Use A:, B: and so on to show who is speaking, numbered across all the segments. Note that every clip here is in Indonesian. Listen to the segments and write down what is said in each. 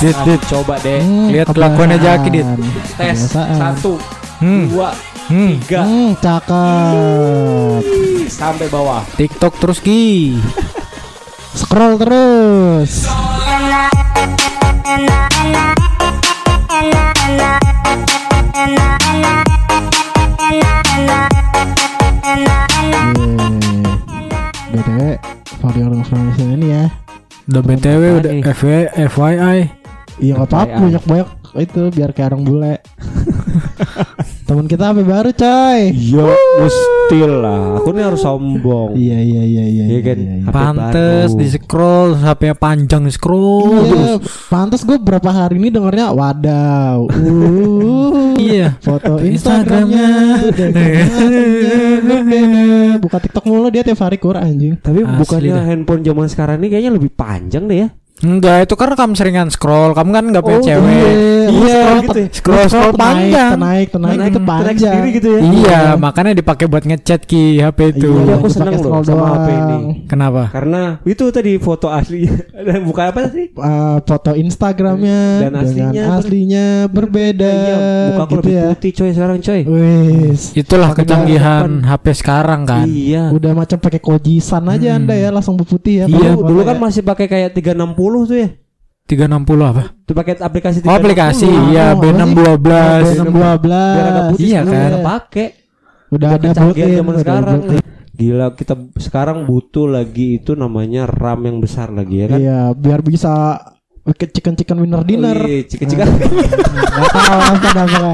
A: Dit,
B: Nah,
A: dit.
B: coba deh
C: Hmm,
A: Lihat kelakuannya
C: kebiasaan.
A: Jaki, Dit.
B: tes
C: Kebiasaan.
B: satu
A: Hmm.
B: dua
A: Hmm.
B: tiga
C: Hmm, cakep.
B: Ih, sampai bawah
A: TikTok terus Ki.
C: Scroll terus. Hmm, Yeay. BTW, for your information ini ya.
A: Udah BTW
B: Apaan
A: udah
B: nih?
A: FW, FYI.
C: Iya nggak apa-apa
B: Kayak-
C: banyak banyak itu biar kayak orang bule. Temen kita apa baru coy?
B: Yo, mustil lah. Iya, Aku ini harus sombong.
C: Iya iya iya iya.
B: Iya kan?
C: iya, iya.
B: HP
A: Pantes
B: baru.
A: di scroll HP-nya panjang di scroll
C: Iya,
A: terus.
C: pantas gue berapa hari ini dengernya wadaw. Uh.
A: Iya.
C: Foto
A: Instagramnya.
C: Instagramnya Instagramnya. Buka TikTok mulu dia tiap hari kur anjing
B: Tapi
A: Asli
B: bukannya
A: dah.
B: handphone zaman sekarang ini kayaknya lebih panjang deh ya.
A: Enggak, itu karena kamu seringan scroll. Kamu kan enggak punya
B: Oh,
A: cewek.
C: iya. Lu scroll gitu
B: ya?
A: Scroll scroll
C: Tenaik,
A: panjang.
C: Tenaik tenaik
A: Tenaik-
C: Nah, itu
A: tenaik
C: panjang
B: sendiri gitu ya.
A: Iya, makanya dipakai buat ngechat ki HP itu.
B: Iya, aku
C: dipakai
B: seneng loh
C: scroll
B: sama HP
C: doang.
B: ini.
A: Kenapa?
B: Karena itu tadi foto asli dan bukan apa sih?
C: Eh, Foto Instagramnya
B: Dan aslinya
C: Dengan
B: ber-
C: aslinya berbeda
B: Iya,
C: Eh,
B: muka aku
C: Gitu
B: lebih
C: ya
B: putih coy sekarang coy.
C: Wis
A: Itulah
C: Pakai
A: kecanggihan HP sekarang kan.
B: Iya.
C: Udah macam pakai kojisan aja
A: Hmm.
C: anda ya Langsung berputih ya
A: Iya,
C: Kalau
B: Dulu, dulu
C: foto
B: kan
C: ya.
B: masih pakai kayak 360 tuh ya.
A: 360 apa?
B: Itu pakai aplikasi
A: Oh,
B: 360.
A: aplikasi.
C: Oh,
A: Iya,
C: apa
A: B612.
C: Ada 12
B: Biar agak putih
A: Iya,
B: semua
A: kan?
B: kita pakai.
C: Udah ada iya,
B: Kecanggihan
C: built-in,
B: zaman
C: udah ada
B: sekarang.
A: iya,
C: built-in.
B: Gila kita sekarang butuh lagi itu namanya RAM yang besar lagi ya kan.
C: Iya, biar bisa chicken chicken
A: Oh,
C: winner dinner.
A: iya,
C: Ah.
B: Wih, iya, cika-cika.
C: Gak tahu apa kenapa.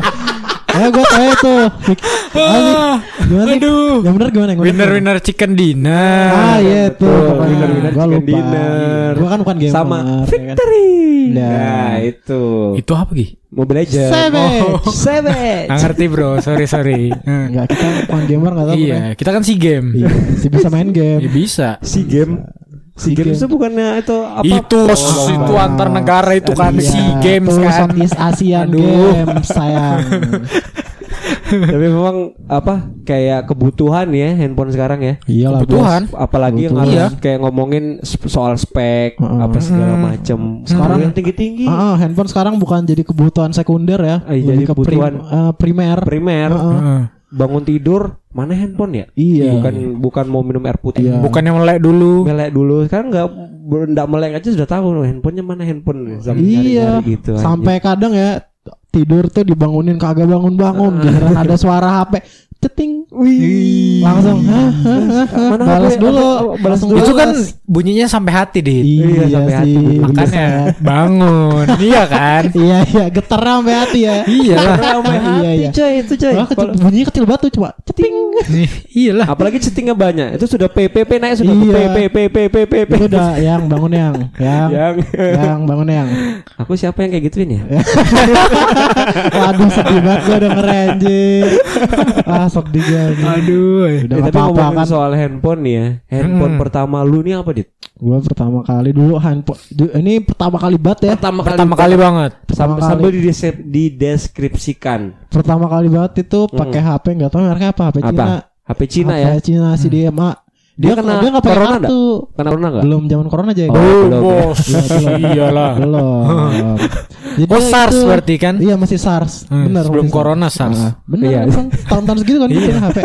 C: Ya gue tahu itu. Mik- ah, Mik, Gimana? Mik?
A: Aduh.
C: Yang benar gimana? Yang bener?
A: Winner winner chicken dinner.
C: Ah iya itu.
B: Betul, winner-winner
C: Gue
B: chicken
C: lupa.
B: dinner.
C: Gue kan bukan gamer.
B: Sama
C: ya kan.
B: Victory.
C: Nah.
B: Nah, itu.
A: Itu apa ki?
B: Mobile Legends.
C: Savage.
B: Savage.
A: Oh. Nggak ngerti bro, sorry sorry. Eh,
C: Enggak kita bukan gamer nggak tahu. bener.
A: iya, kita kan si game.
C: Iya. Si bisa main game.
A: Ya bisa.
B: Si game. Si
C: Si game.
B: game itu bukannya itu apa?
A: itu
B: Oh,
A: itu
C: apa.
A: antar negara itu kan
C: Iya,
A: si games
C: tuh
A: kan.
C: Southeast Asian
A: Aduh.
C: game sayang.
B: Tapi memang apa kayak kebutuhan ya handphone sekarang ya.
C: Iyalah bos.
A: Kebutuhan.
B: Apalagi yang
C: Kebutuhan. Iya.
B: harus kayak ngomongin sp- soal spek
C: Heeh.
B: apa segala macem. Sekarang yang tinggi-tinggi.
C: Ah, ah, handphone sekarang bukan jadi kebutuhan sekunder ya,
B: Eh, jadi
C: lebih ke prim-
B: kebutuhan
C: eh, primer. ah.
B: Primer Ah,
C: Heeh.
A: Heeh.
B: bangun tidur mana handphone ya?
C: Iya.
B: Bukan bukan mau minum air putih.
C: Iya.
A: Bukannya melek dulu.
B: Melek dulu sekarang nggak nggak melek aja sudah tahu loh handphonenya mana handphone sampai
C: Iya.
B: nyari-nyari gitu anjing.
C: Sampai kadang ya tidur tuh dibangunin kagak
B: Ah.
C: bangun-bangun, giliran ada suara HP, ceting. Wih. Langsung hah, hah, hah, hah.
B: Mana
C: balas
B: HP?
C: dulu.
B: Apa? Oh, balas
C: Langsung
B: dulu.
A: Itu kan
C: balas.
A: bunyinya sampai hati deh.
C: Iya,
B: Iya, sampai hati.
C: sih. bener banget.
A: Makanya bangun. iya kan?
C: Iya iya getar sampai hati ya.
A: Iya lah.
B: Ramai
C: Iya,
B: hati
C: iya.
B: coy itu coy.
C: Wah, kecil,
B: Kalau-
C: bunyinya kecil banget tuh coba. Ceting.
A: Iya lah.
B: Apalagi chattingnya banyak. Itu sudah PPP naik sudah
C: Iya.
B: PPPPPP.
C: Itu udah yang bangun yang, yang,
B: Yang
C: yang bangun yang.
B: aku siapa yang kayak gituin ya?
C: Eh, Waduh sedih banget gue denger anjir Ah sedih gue anjir.
A: Aduh.
C: Udah
B: Eh,
C: gak
B: tapi
C: apa-apa
B: ngomongin
C: kan
B: soal handphone nih ya. Handphone
A: Hmm.
B: pertama lu nih apa, Dit?
C: Gue pertama kali dulu handphone du- Ini pertama kali banget ya
A: Pertama kali banget.
C: Pertama
B: Sam-
C: kali.
B: sambil didesep- dideskripsikan
C: Pertama kali banget itu pakai HP nggak tahu mereknya apa HP Cina
B: Hmm. apa? HP Cina
C: HP
B: ya?
C: Cina si dia mak Dia,
B: Dia kena
C: dia nggak pakai
B: corona
C: kartu
B: Karena pernah enggak?
C: Belum zaman corona aja ya
B: Oh,
A: Oh,
B: belum ya.
A: bos. Iya lah.
C: Belum Jadi
A: Oh
C: itu-
A: SARS berarti kan?
C: Iya masih SARS
A: Hmm,
C: Bener
A: sebelum
C: masih
A: corona SARS.
C: Ah, Bener
B: Iya.
C: emang Tahun-tahun segitu kan gitu HP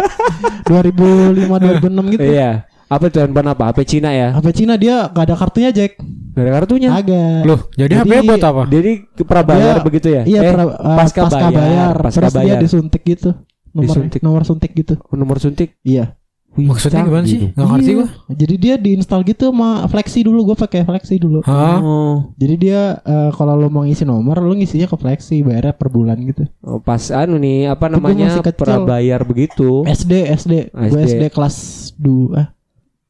C: 2005 2006 gitu
B: Iya. Apa itu handphone apa? HP Cina ya?
C: HP Cina dia gak ada kartunya Jack
B: Gak ada kartunya.
C: Agak
A: Loh, jadi, HP buat apa?
B: Jadi ke prabayar
C: Dia-
B: begitu ya?
C: Iya,
B: Eh,
C: pra- eh,
B: pasca, bayar, Pasca
C: Terus
B: bayar.
C: dia disuntik gitu. Nomor
B: Disuntik.
C: nomor suntik gitu.
B: Nomor suntik.
C: Iya.
A: Maksudnya gimana sih? Nggak ngerti
C: Iya.
A: gua.
C: Jadi dia diinstal gitu sama Flexi dulu, gua pakai Flexi dulu.
A: Hah?
B: Oh,
C: Jadi dia eh, kalau lo mau ngisi nomor, lo ngisinya ke Flexi, bayarnya per bulan gitu.
B: oh, pas anu nih apa
C: Itu gua
B: namanya
C: masih kecil. Eh.
B: prabayar begitu.
C: SD, SD. Gue
B: SD.
C: SD kelas 2. Ah.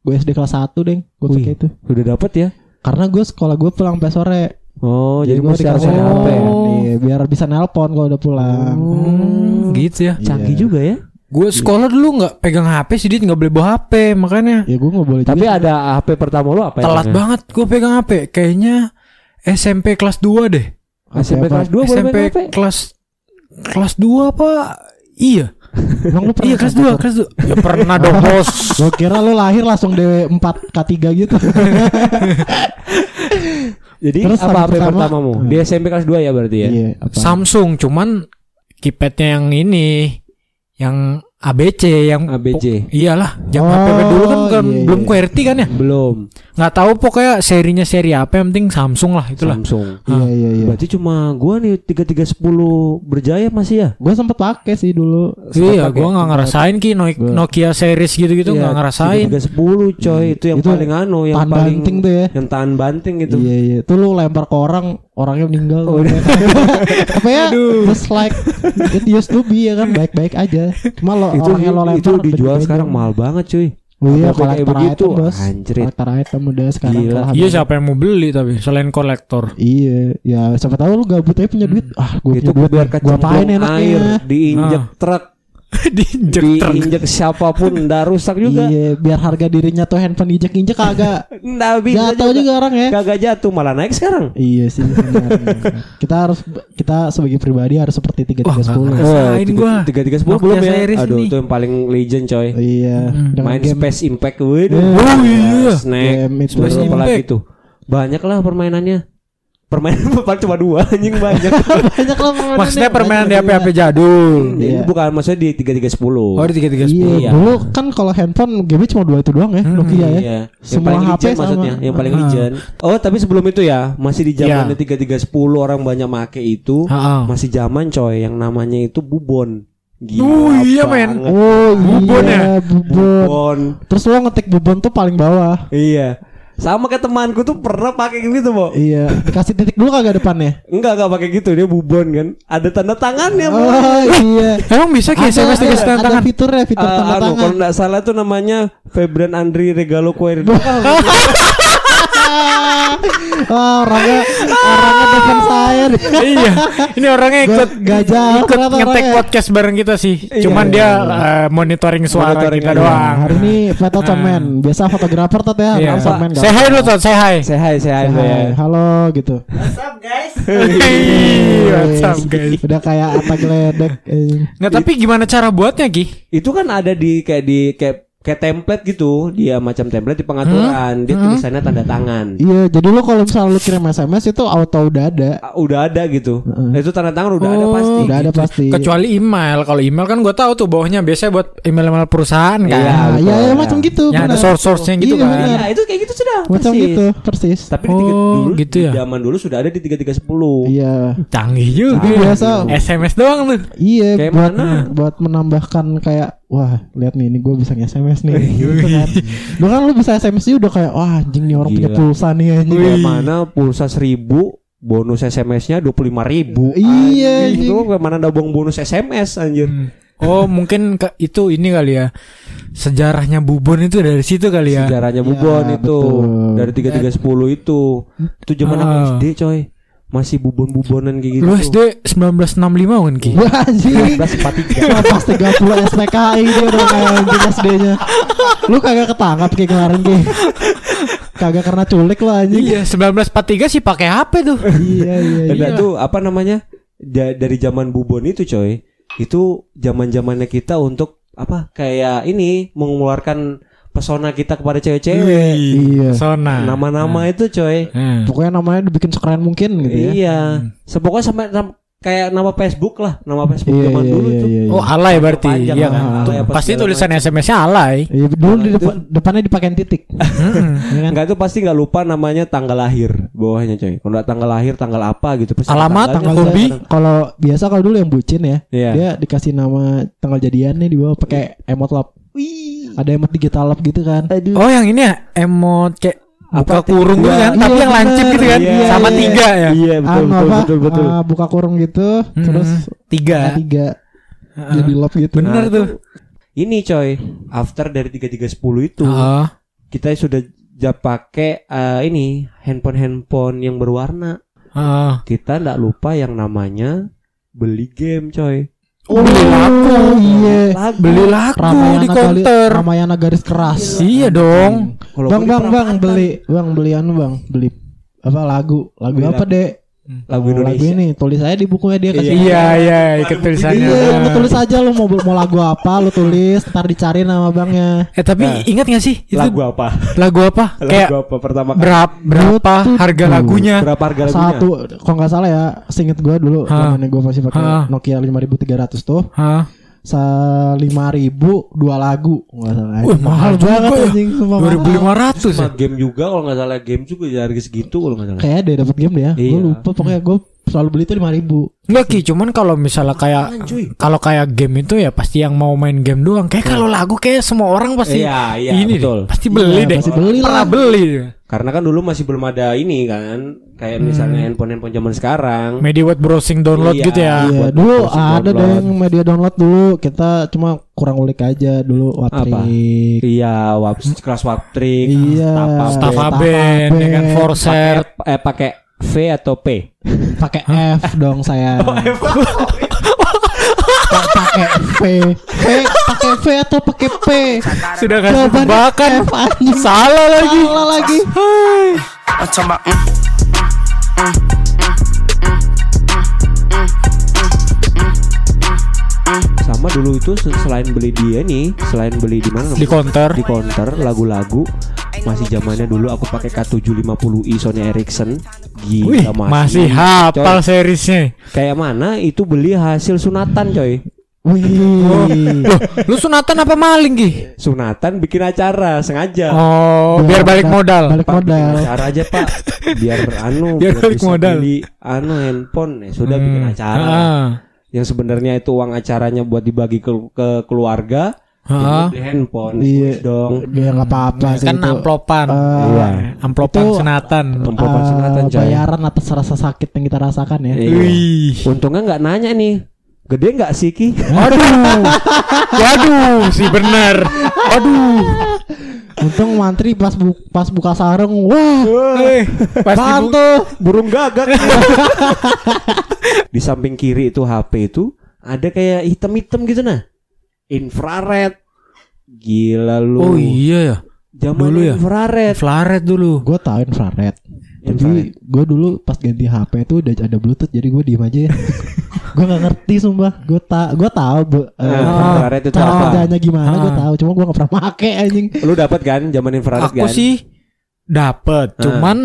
C: Gue SD kelas 1, Deng. Gue
B: Wih.
C: pakai itu.
B: Udah dapet ya?
C: Karena gue sekolah gue pulang sampai sore.
B: Oh, jadi,
C: gue
B: masih harus ada
A: dikasih
B: HP.
A: ya?
C: Iya, biar bisa nelpon kalau udah pulang.
B: Oh.
A: Hmm, gitu ya.
B: Canggih
C: Iya.
B: juga ya.
A: Gue sekolah dulu nggak pegang HP sih, Dit nggak boleh bawa HP makanya.
C: Ya gue gak boleh
B: Tapi
C: juga.
B: ada HP pertama lu
C: Iya,
B: apa ya?
A: Telat
B: namanya?
A: banget gue pegang HP. Kayaknya SMP kelas 2 deh.
B: SMP
C: Apa-apa.
B: kelas 2 boleh
A: SMP
B: main HP?
A: kelas kelas 2 apa? Iya.
C: Emang lu pernah
A: iya kelas
C: sampai
A: 2, kelas 2. Ya pernah dong, Bos.
C: Gue kira lu lahir langsung DW 4 K3 gitu.
B: Jadi
C: Terus
B: apa
C: sama
B: HP
C: pertama? Hmm.
B: pertamamu? Di SMP kelas 2 ya berarti ya?
C: Iya, apa?
A: Samsung cuman keypadnya yang ini yang ABC yang
B: ABC.
A: po- iyalah yang
C: Oh,
A: HP dulu kan bukan,
C: iya,
A: belum
C: iya.
A: QWERTY kan ya
B: Belum.
A: nggak tahu pokoknya serinya seri apa yang penting Samsung lah itulah
B: Samsung.
C: Iya, iya, iya.
B: Berarti cuma gua nih 3310 berjaya masih ya?
C: Gue sempet pakai sih dulu.
A: iya
B: pakai.
A: gua nggak ngerasain ki Noi-
C: Gua-
A: Nokia series gitu-gitu nggak
B: Iya,
A: ngerasain
B: 3310 coy, itu yang
C: Hmm. Itu
B: paling anu yang
C: Tahan
B: paling
C: banting tuh ya.
B: yang tahan banting itu.
C: Iya iya. Tuh lu lempar ke orang, orangnya meninggal.
B: Gitu. Oh, udah.
C: Apa ya? Just like it used to be ya kan baik-baik aja. Cuma lo
B: itu
C: orangnya lo lempar
B: itu dijual
C: baik-baik
B: sekarang
C: aja.
B: mahal banget cuy.
C: Oh iya,
B: Apa kayak
C: kolektor
B: begitu?
C: item, Bos.
B: Anjrit.
C: Kolektor item udah sekarang.
B: Gila.
A: iya
C: kalau habis-
A: siapa yang mau beli tapi selain kolektor
C: Iya, ya siapa tahu lu gabut aja punya duit. Ah, gue
B: itu
C: punya
B: gua
C: duit.
B: biar
C: Gua apain
B: kecemplung air,
C: enaknya?
B: diinjek
A: Ah.
B: truk,
A: diinjek truk.
B: diinjek siapapun ndak rusak juga.
C: Iya, biar harga dirinya tuh handphone injek-injek kagak
B: Ndak bisa
C: jatuh juga orang ya.
B: Kagak jatuh malah naik sekarang.
C: Iya sih. sebenarnya. kita harus kita sebagai pribadi harus seperti tiga
A: Wah,
C: tiga
A: nggak
C: sepuluh.
A: ngerasa. Rasain gua.
B: tiga tiga sepuluh
A: Nokia
B: belum ya
A: series
B: aduh
A: ini.
B: itu yang paling legend coy
C: Iya.
A: Hmm.
C: Dengan
B: main
C: game
B: Space Impact waduh Nah,
A: Oh iya.
B: snack
C: Game itu.
B: Space
A: Space
B: apa lagi
A: Impact.
B: tuh banyak lah permainannya permainan paling cuma dua anjing banyak
C: banyak lah permainan.
A: Maksudnya permainan di HP-HP jadul.
B: ini
C: Iya.
B: bukan maksudnya di tiga tiga sepuluh
A: Hmm, Oh, di tiga tiga
C: Iya,
B: Iya. Hmm.
C: dulu kan kalau handphone game cuma dua itu doang ya, Nokia ya.
B: yang
C: Semua
B: paling
C: HP
B: legend
C: sama.
B: maksudnya yang paling
A: Ah.
B: legend oh tapi sebelum itu ya masih di zamannya
A: Iya.
B: tiga tiga sepuluh orang banyak make itu
A: Ah, ah.
B: masih zaman coy yang namanya itu bubon Gila
A: Oh, iya,
B: banget.
A: men.
C: Oh,
A: Bubon ya?
C: iya, Bubon.
B: bubon
C: Terus lo ngetik bubon tuh paling bawah.
B: Iya. Sama kayak temanku tuh pernah pakai gitu, Bo.
C: Iya, dikasih titik dulu kagak depannya.
B: Enggak, enggak pakai gitu, dia bubon kan. Ada tanda tangannya, Bo.
C: Oh iya.
A: Emang bisa ki
C: Ada-
A: SMS tiga
C: ada-
A: setengah
C: ada
A: tangan?
C: fiturnya, fitur
B: Eh,
C: tanda
B: anu,
C: tangan.
B: kalau enggak salah tuh namanya Febrian Andri Regalo Query.
C: Wah, Ah, orangnya orangnya depan saya. nih.
A: iya, ini orangnya ikut
C: Gak jauh
A: ikut
C: ternyata
A: ngetek
C: orangnya.
A: podcast bareng kita sih.
C: Iya,
A: Cuman dia eh, monitoring suara
B: Monitoring
A: kita
B: aja.
A: doang. Ah.
C: Hari ini foto cemen. Biasa fotografer tot ya,
A: Iya.
C: orang cemen kan.
A: Say hi lu Tot, say hi.
B: Say hi, say hi, Bo, ya.
C: Hai, Halo gitu.
A: Hey, Iya, What's up guys?
C: Udah kayak apa geledek. eh.
A: Nggak, tapi gimana cara buatnya Ki?
B: Itu kan ada di kayak di kayak kayak template gitu, dia macam template di pengaturan, dia tulisannya tanda tangan.
C: Hmm? Iya, jadi lo kalau misalnya lo kirim SMS itu auto udah ada.
B: Ah, Udah ada gitu.
C: Heeh.
B: Itu tanda tangan udah ada
A: Oh,
B: pasti.
C: Hmm. Udah ada pasti.
A: Kecuali email, kalau email kan gue tahu tuh bawahnya biasanya buat email-email perusahaan kan.
B: Iya.
C: Nah, ya, ya,
B: betul,
C: macam
B: ya.
C: gitu.
A: Yang ada
C: benar.
A: source-source-nya gitu
C: Iya,
A: kan.
C: benar.
B: Iya, itu kayak gitu sudah.
C: Macam
B: persis.
C: gitu, persis.
B: Tapi di tiga,
A: Oh,
B: dulu
A: gitu ya.
B: di zaman dulu sudah ada di 3310.
C: Iya.
A: Canggih juga.
C: Tapi biasa
A: SMS doang tuh.
C: iya
B: Kayak
C: buat
B: mana?
C: buat menambahkan kayak wah, lihat nih ini gue bisa nge-SMS nih. gitu kan. Lu kan lu bisa SMS -nya udah kayak wah anjing nih orang punya
B: Gila.
C: pulsa nih anjing.
B: Yang mana pulsa 1000 bonus SMS-nya 25 ribu
C: Iya, Hmm.
B: Anjing, Itu mana ada bong bonus SMS anjir
A: Oh mungkin ke- itu ini kali ya sejarahnya Bubon itu dari situ kali ya.
B: Sejarahnya Bubon
C: Iya,
B: itu
C: betul.
B: Dari 3310 itu Itu zaman aku
A: Ah.
B: SD coy Masih bubon-bubonan kayak gitu
A: Lu SD 1965 kan Ki?
C: Wah anjing.
B: 1943
C: Wah, Pas 30 SPKI dia udah kayak anjing SD-nya. Lu kagak ketangkap kayak kemarin kayak. Kagak karena culik lo anjing.
A: Iya 1943 sih pakai HP tuh.
C: iya iya
B: Dan
C: iya.
B: itu apa namanya da- Dari zaman Bubon itu coy Itu zaman zamannya kita untuk Apa kayak ini Mengeluarkan pesona kita kepada cewek-cewek
C: Iya.
A: Sona.
B: Nama-nama itu coy
A: Hmm.
C: Pokoknya namanya dibikin sekeren mungkin gitu ya.
B: Iya. Sepokoknya sampai sam- kayak nama Facebook lah, nama Facebook zaman dulu tuh.
C: iya.
A: Oh alay berarti
B: Panjang
A: iya
B: lah,
A: kan?
B: alay apa
A: Pasti
B: segala
A: tulisan SMS-nya alay.
C: Iya, dulu di depan, depannya dipakai titik.
B: Hmm.
C: Iya kan?
B: Enggak itu pasti nggak lupa namanya tanggal lahir bawahnya coy. Kalau nggak tanggal lahir tanggal apa gitu. Pasti ada
A: Alamat,
B: tanggalnya,
A: tanggal hobi.
B: kadang-kadang.
C: Kalau biasa kalau dulu yang bucin ya,
B: Iya.
C: dia dikasih nama tanggal jadiannya di bawah pakai emot lap. Ada emot digital lap gitu kan.
A: Oh yang ini ya emot kayak buka
B: Apa,
A: kurung gitu
B: tiga?
A: kan? Tapi
C: Iya,
A: yang lancip
C: bener.
A: gitu kan?
C: Iya,
A: Sama
C: iya.
A: tiga ya?
B: Iya betul
C: Anu
B: betul,
C: apa?
B: betul betul. Mm-hmm. Ya.
C: Ah, buka kurung gitu, terus
A: Tiga.
B: Iya,
C: A3
B: Ah,
C: jadi lap gitu.
A: Bener tuh.
B: Ini coy, after dari 3310
C: Ah,
B: itu
A: Heeh.
B: kita sudah ja pakai eh, ini handphone-handphone yang berwarna.
A: Heeh.
B: Kita nggak lupa yang namanya beli game coy.
C: Oh, iya.
B: Lagu.
A: Beli laku di
C: Ramayana kali,
A: counter.
C: Ramayana garis keras.
A: Iya dong.
B: Kalau
C: bang
B: gua
C: bang
B: di
C: bang
B: perempatan.
C: beli bang beli anu bang beli apa lagu lagu
B: Beli
C: apa dek
B: lagu
C: Mau lagu
B: Indonesia.
C: ini tulis aja di bukunya dia kasih
A: Iya iya ikut tulisannya.
C: ya. Iya, lu tulis aja lu mau mau lagu apa, lu tulis, ntar dicari nama bangnya.
A: Eh tapi ingat gak sih itu
B: Lagu apa?
A: lagu apa?
B: Lagu
A: Kayak
B: apa pertama kali?
A: berapa berapa
C: Youtube.
A: harga lagunya?
B: Berapa harga lagunya?
C: Satu, kalau nggak salah ya, singet gua dulu,
A: Ha.
C: zamannya gua masih
A: Ha.
C: pakai Nokia 5300 tuh.
A: Hah?
C: Sa 5000 dua lagu, nggak salah.
A: Wah mahal juga ya.
C: anjing, sumpah mahal.
A: 2500 ya.
B: Sama game juga kalau nggak salah game juga ya harga segitu kalau nggak salah.
C: Kayaknya dia dapat game deh ya.
B: Iya.
C: Gua lupa pokoknya gua selalu beli itu 5000.
A: Enggak Ki, cuman kalau misalnya kayak kalau kayak game itu ya pasti yang mau main game doang. Kayak kalau lagu kayak semua orang pasti
B: Iya, iya,
A: ini deh,
B: betul.
A: pasti beli
C: Iya,
A: deh.
C: pasti beli
A: Pernah
C: lah.
A: beli.
B: Karena kan dulu masih belum ada ini kan, kayak misalnya
C: Hmm.
B: handphone-handphone zaman sekarang.
A: Media web browsing download
B: Iya.
A: gitu ya.
C: Iya,
B: buat
C: dulu
B: browsing
C: ada
B: download.
C: dong media download dulu, kita cuma kurang ulik aja dulu Watrik.
B: Iya, wap, kelas Waptrik,
C: Iya.
B: Staff
A: Staff
B: Up,
A: Aben, ya kan
C: Aben.
B: pakai
A: Forset.
B: F- eh pakai V atau P?
C: Pakai F dong saya. Pa- pakai V. V pakai V atau pakai P?
A: Sudah kasih
C: Jawabannya
A: tebakan.
C: F anjing.
A: Salah lagi.
C: Salah lagi.
D: I'm talking about mm, mm, mm, mm, mm, mm,
B: Sama dulu itu se- selain beli dia nih, selain beli di mana?
A: Di counter.
B: Di counter lagu-lagu masih zamannya dulu aku pakai K750i Sony Ericsson.
A: Wih,
B: Gila
A: masih hafal seriesnya.
B: Kayak mana itu beli hasil sunatan, coy.
C: Wih.
A: Loh, lu sunatan apa maling Ki?
B: Sunatan bikin acara sengaja.
A: Oh, biar balik modal.
C: Balik modal.
B: bikin acara aja pak biar anu
A: Biar balik
B: bisa
A: modal.
B: beli anu handphone ya sudah bikin
A: Hmm.
B: acara
A: Ah.
B: yang sebenarnya itu uang acaranya buat dibagi ke, ke keluarga
A: Ah.
B: ya beli handphone
C: Iya.
B: dong
C: Ya nggak apa-apa sih
A: Kan
C: itu. Eh, Ah.
A: amplopan.
B: Iya.
A: Amplopan
C: Itu-
A: sunatan.
B: pempopan
C: Eh,
B: sunatan coy
A: ya?
C: bayaran atas rasa sakit yang kita rasakan ya.
B: Iya.
A: Wih.
B: untungnya nggak nanya nih gede nggak sih ki
A: Waduh. Waduh, si bener. Waduh.
C: Untung mantri pas bu pas buka sarung,
B: Iya.
C: wah,
A: Eh, pasti
C: apaan
A: bu-
C: tuh?
B: burung gagak di samping kiri itu HP itu ada kayak hitam-hitam gitu nah infrared gila lu
A: Oh iya ya.
B: zaman
A: dulu ya?
B: infrared
A: Flaret dulu.
C: Gue tahu infrared.
A: Iya,
B: Infrared.
C: Tapi gue dulu pas ganti HP tuh udah ada bluetooth jadi gue diem aja ya. gue nggak ngerti sumpah. Gue tak gue tahu bu, eh,
B: Nah,
C: infrared
B: infrared itu
C: cara
B: apa?
C: kerjanya gimana gue
A: Ah.
C: tahu. Cuma gue nggak pernah make anjing.
B: Lu dapat kan zaman infrared
A: Aku
B: kan?
A: sih dapet,
B: Ah.
A: cuman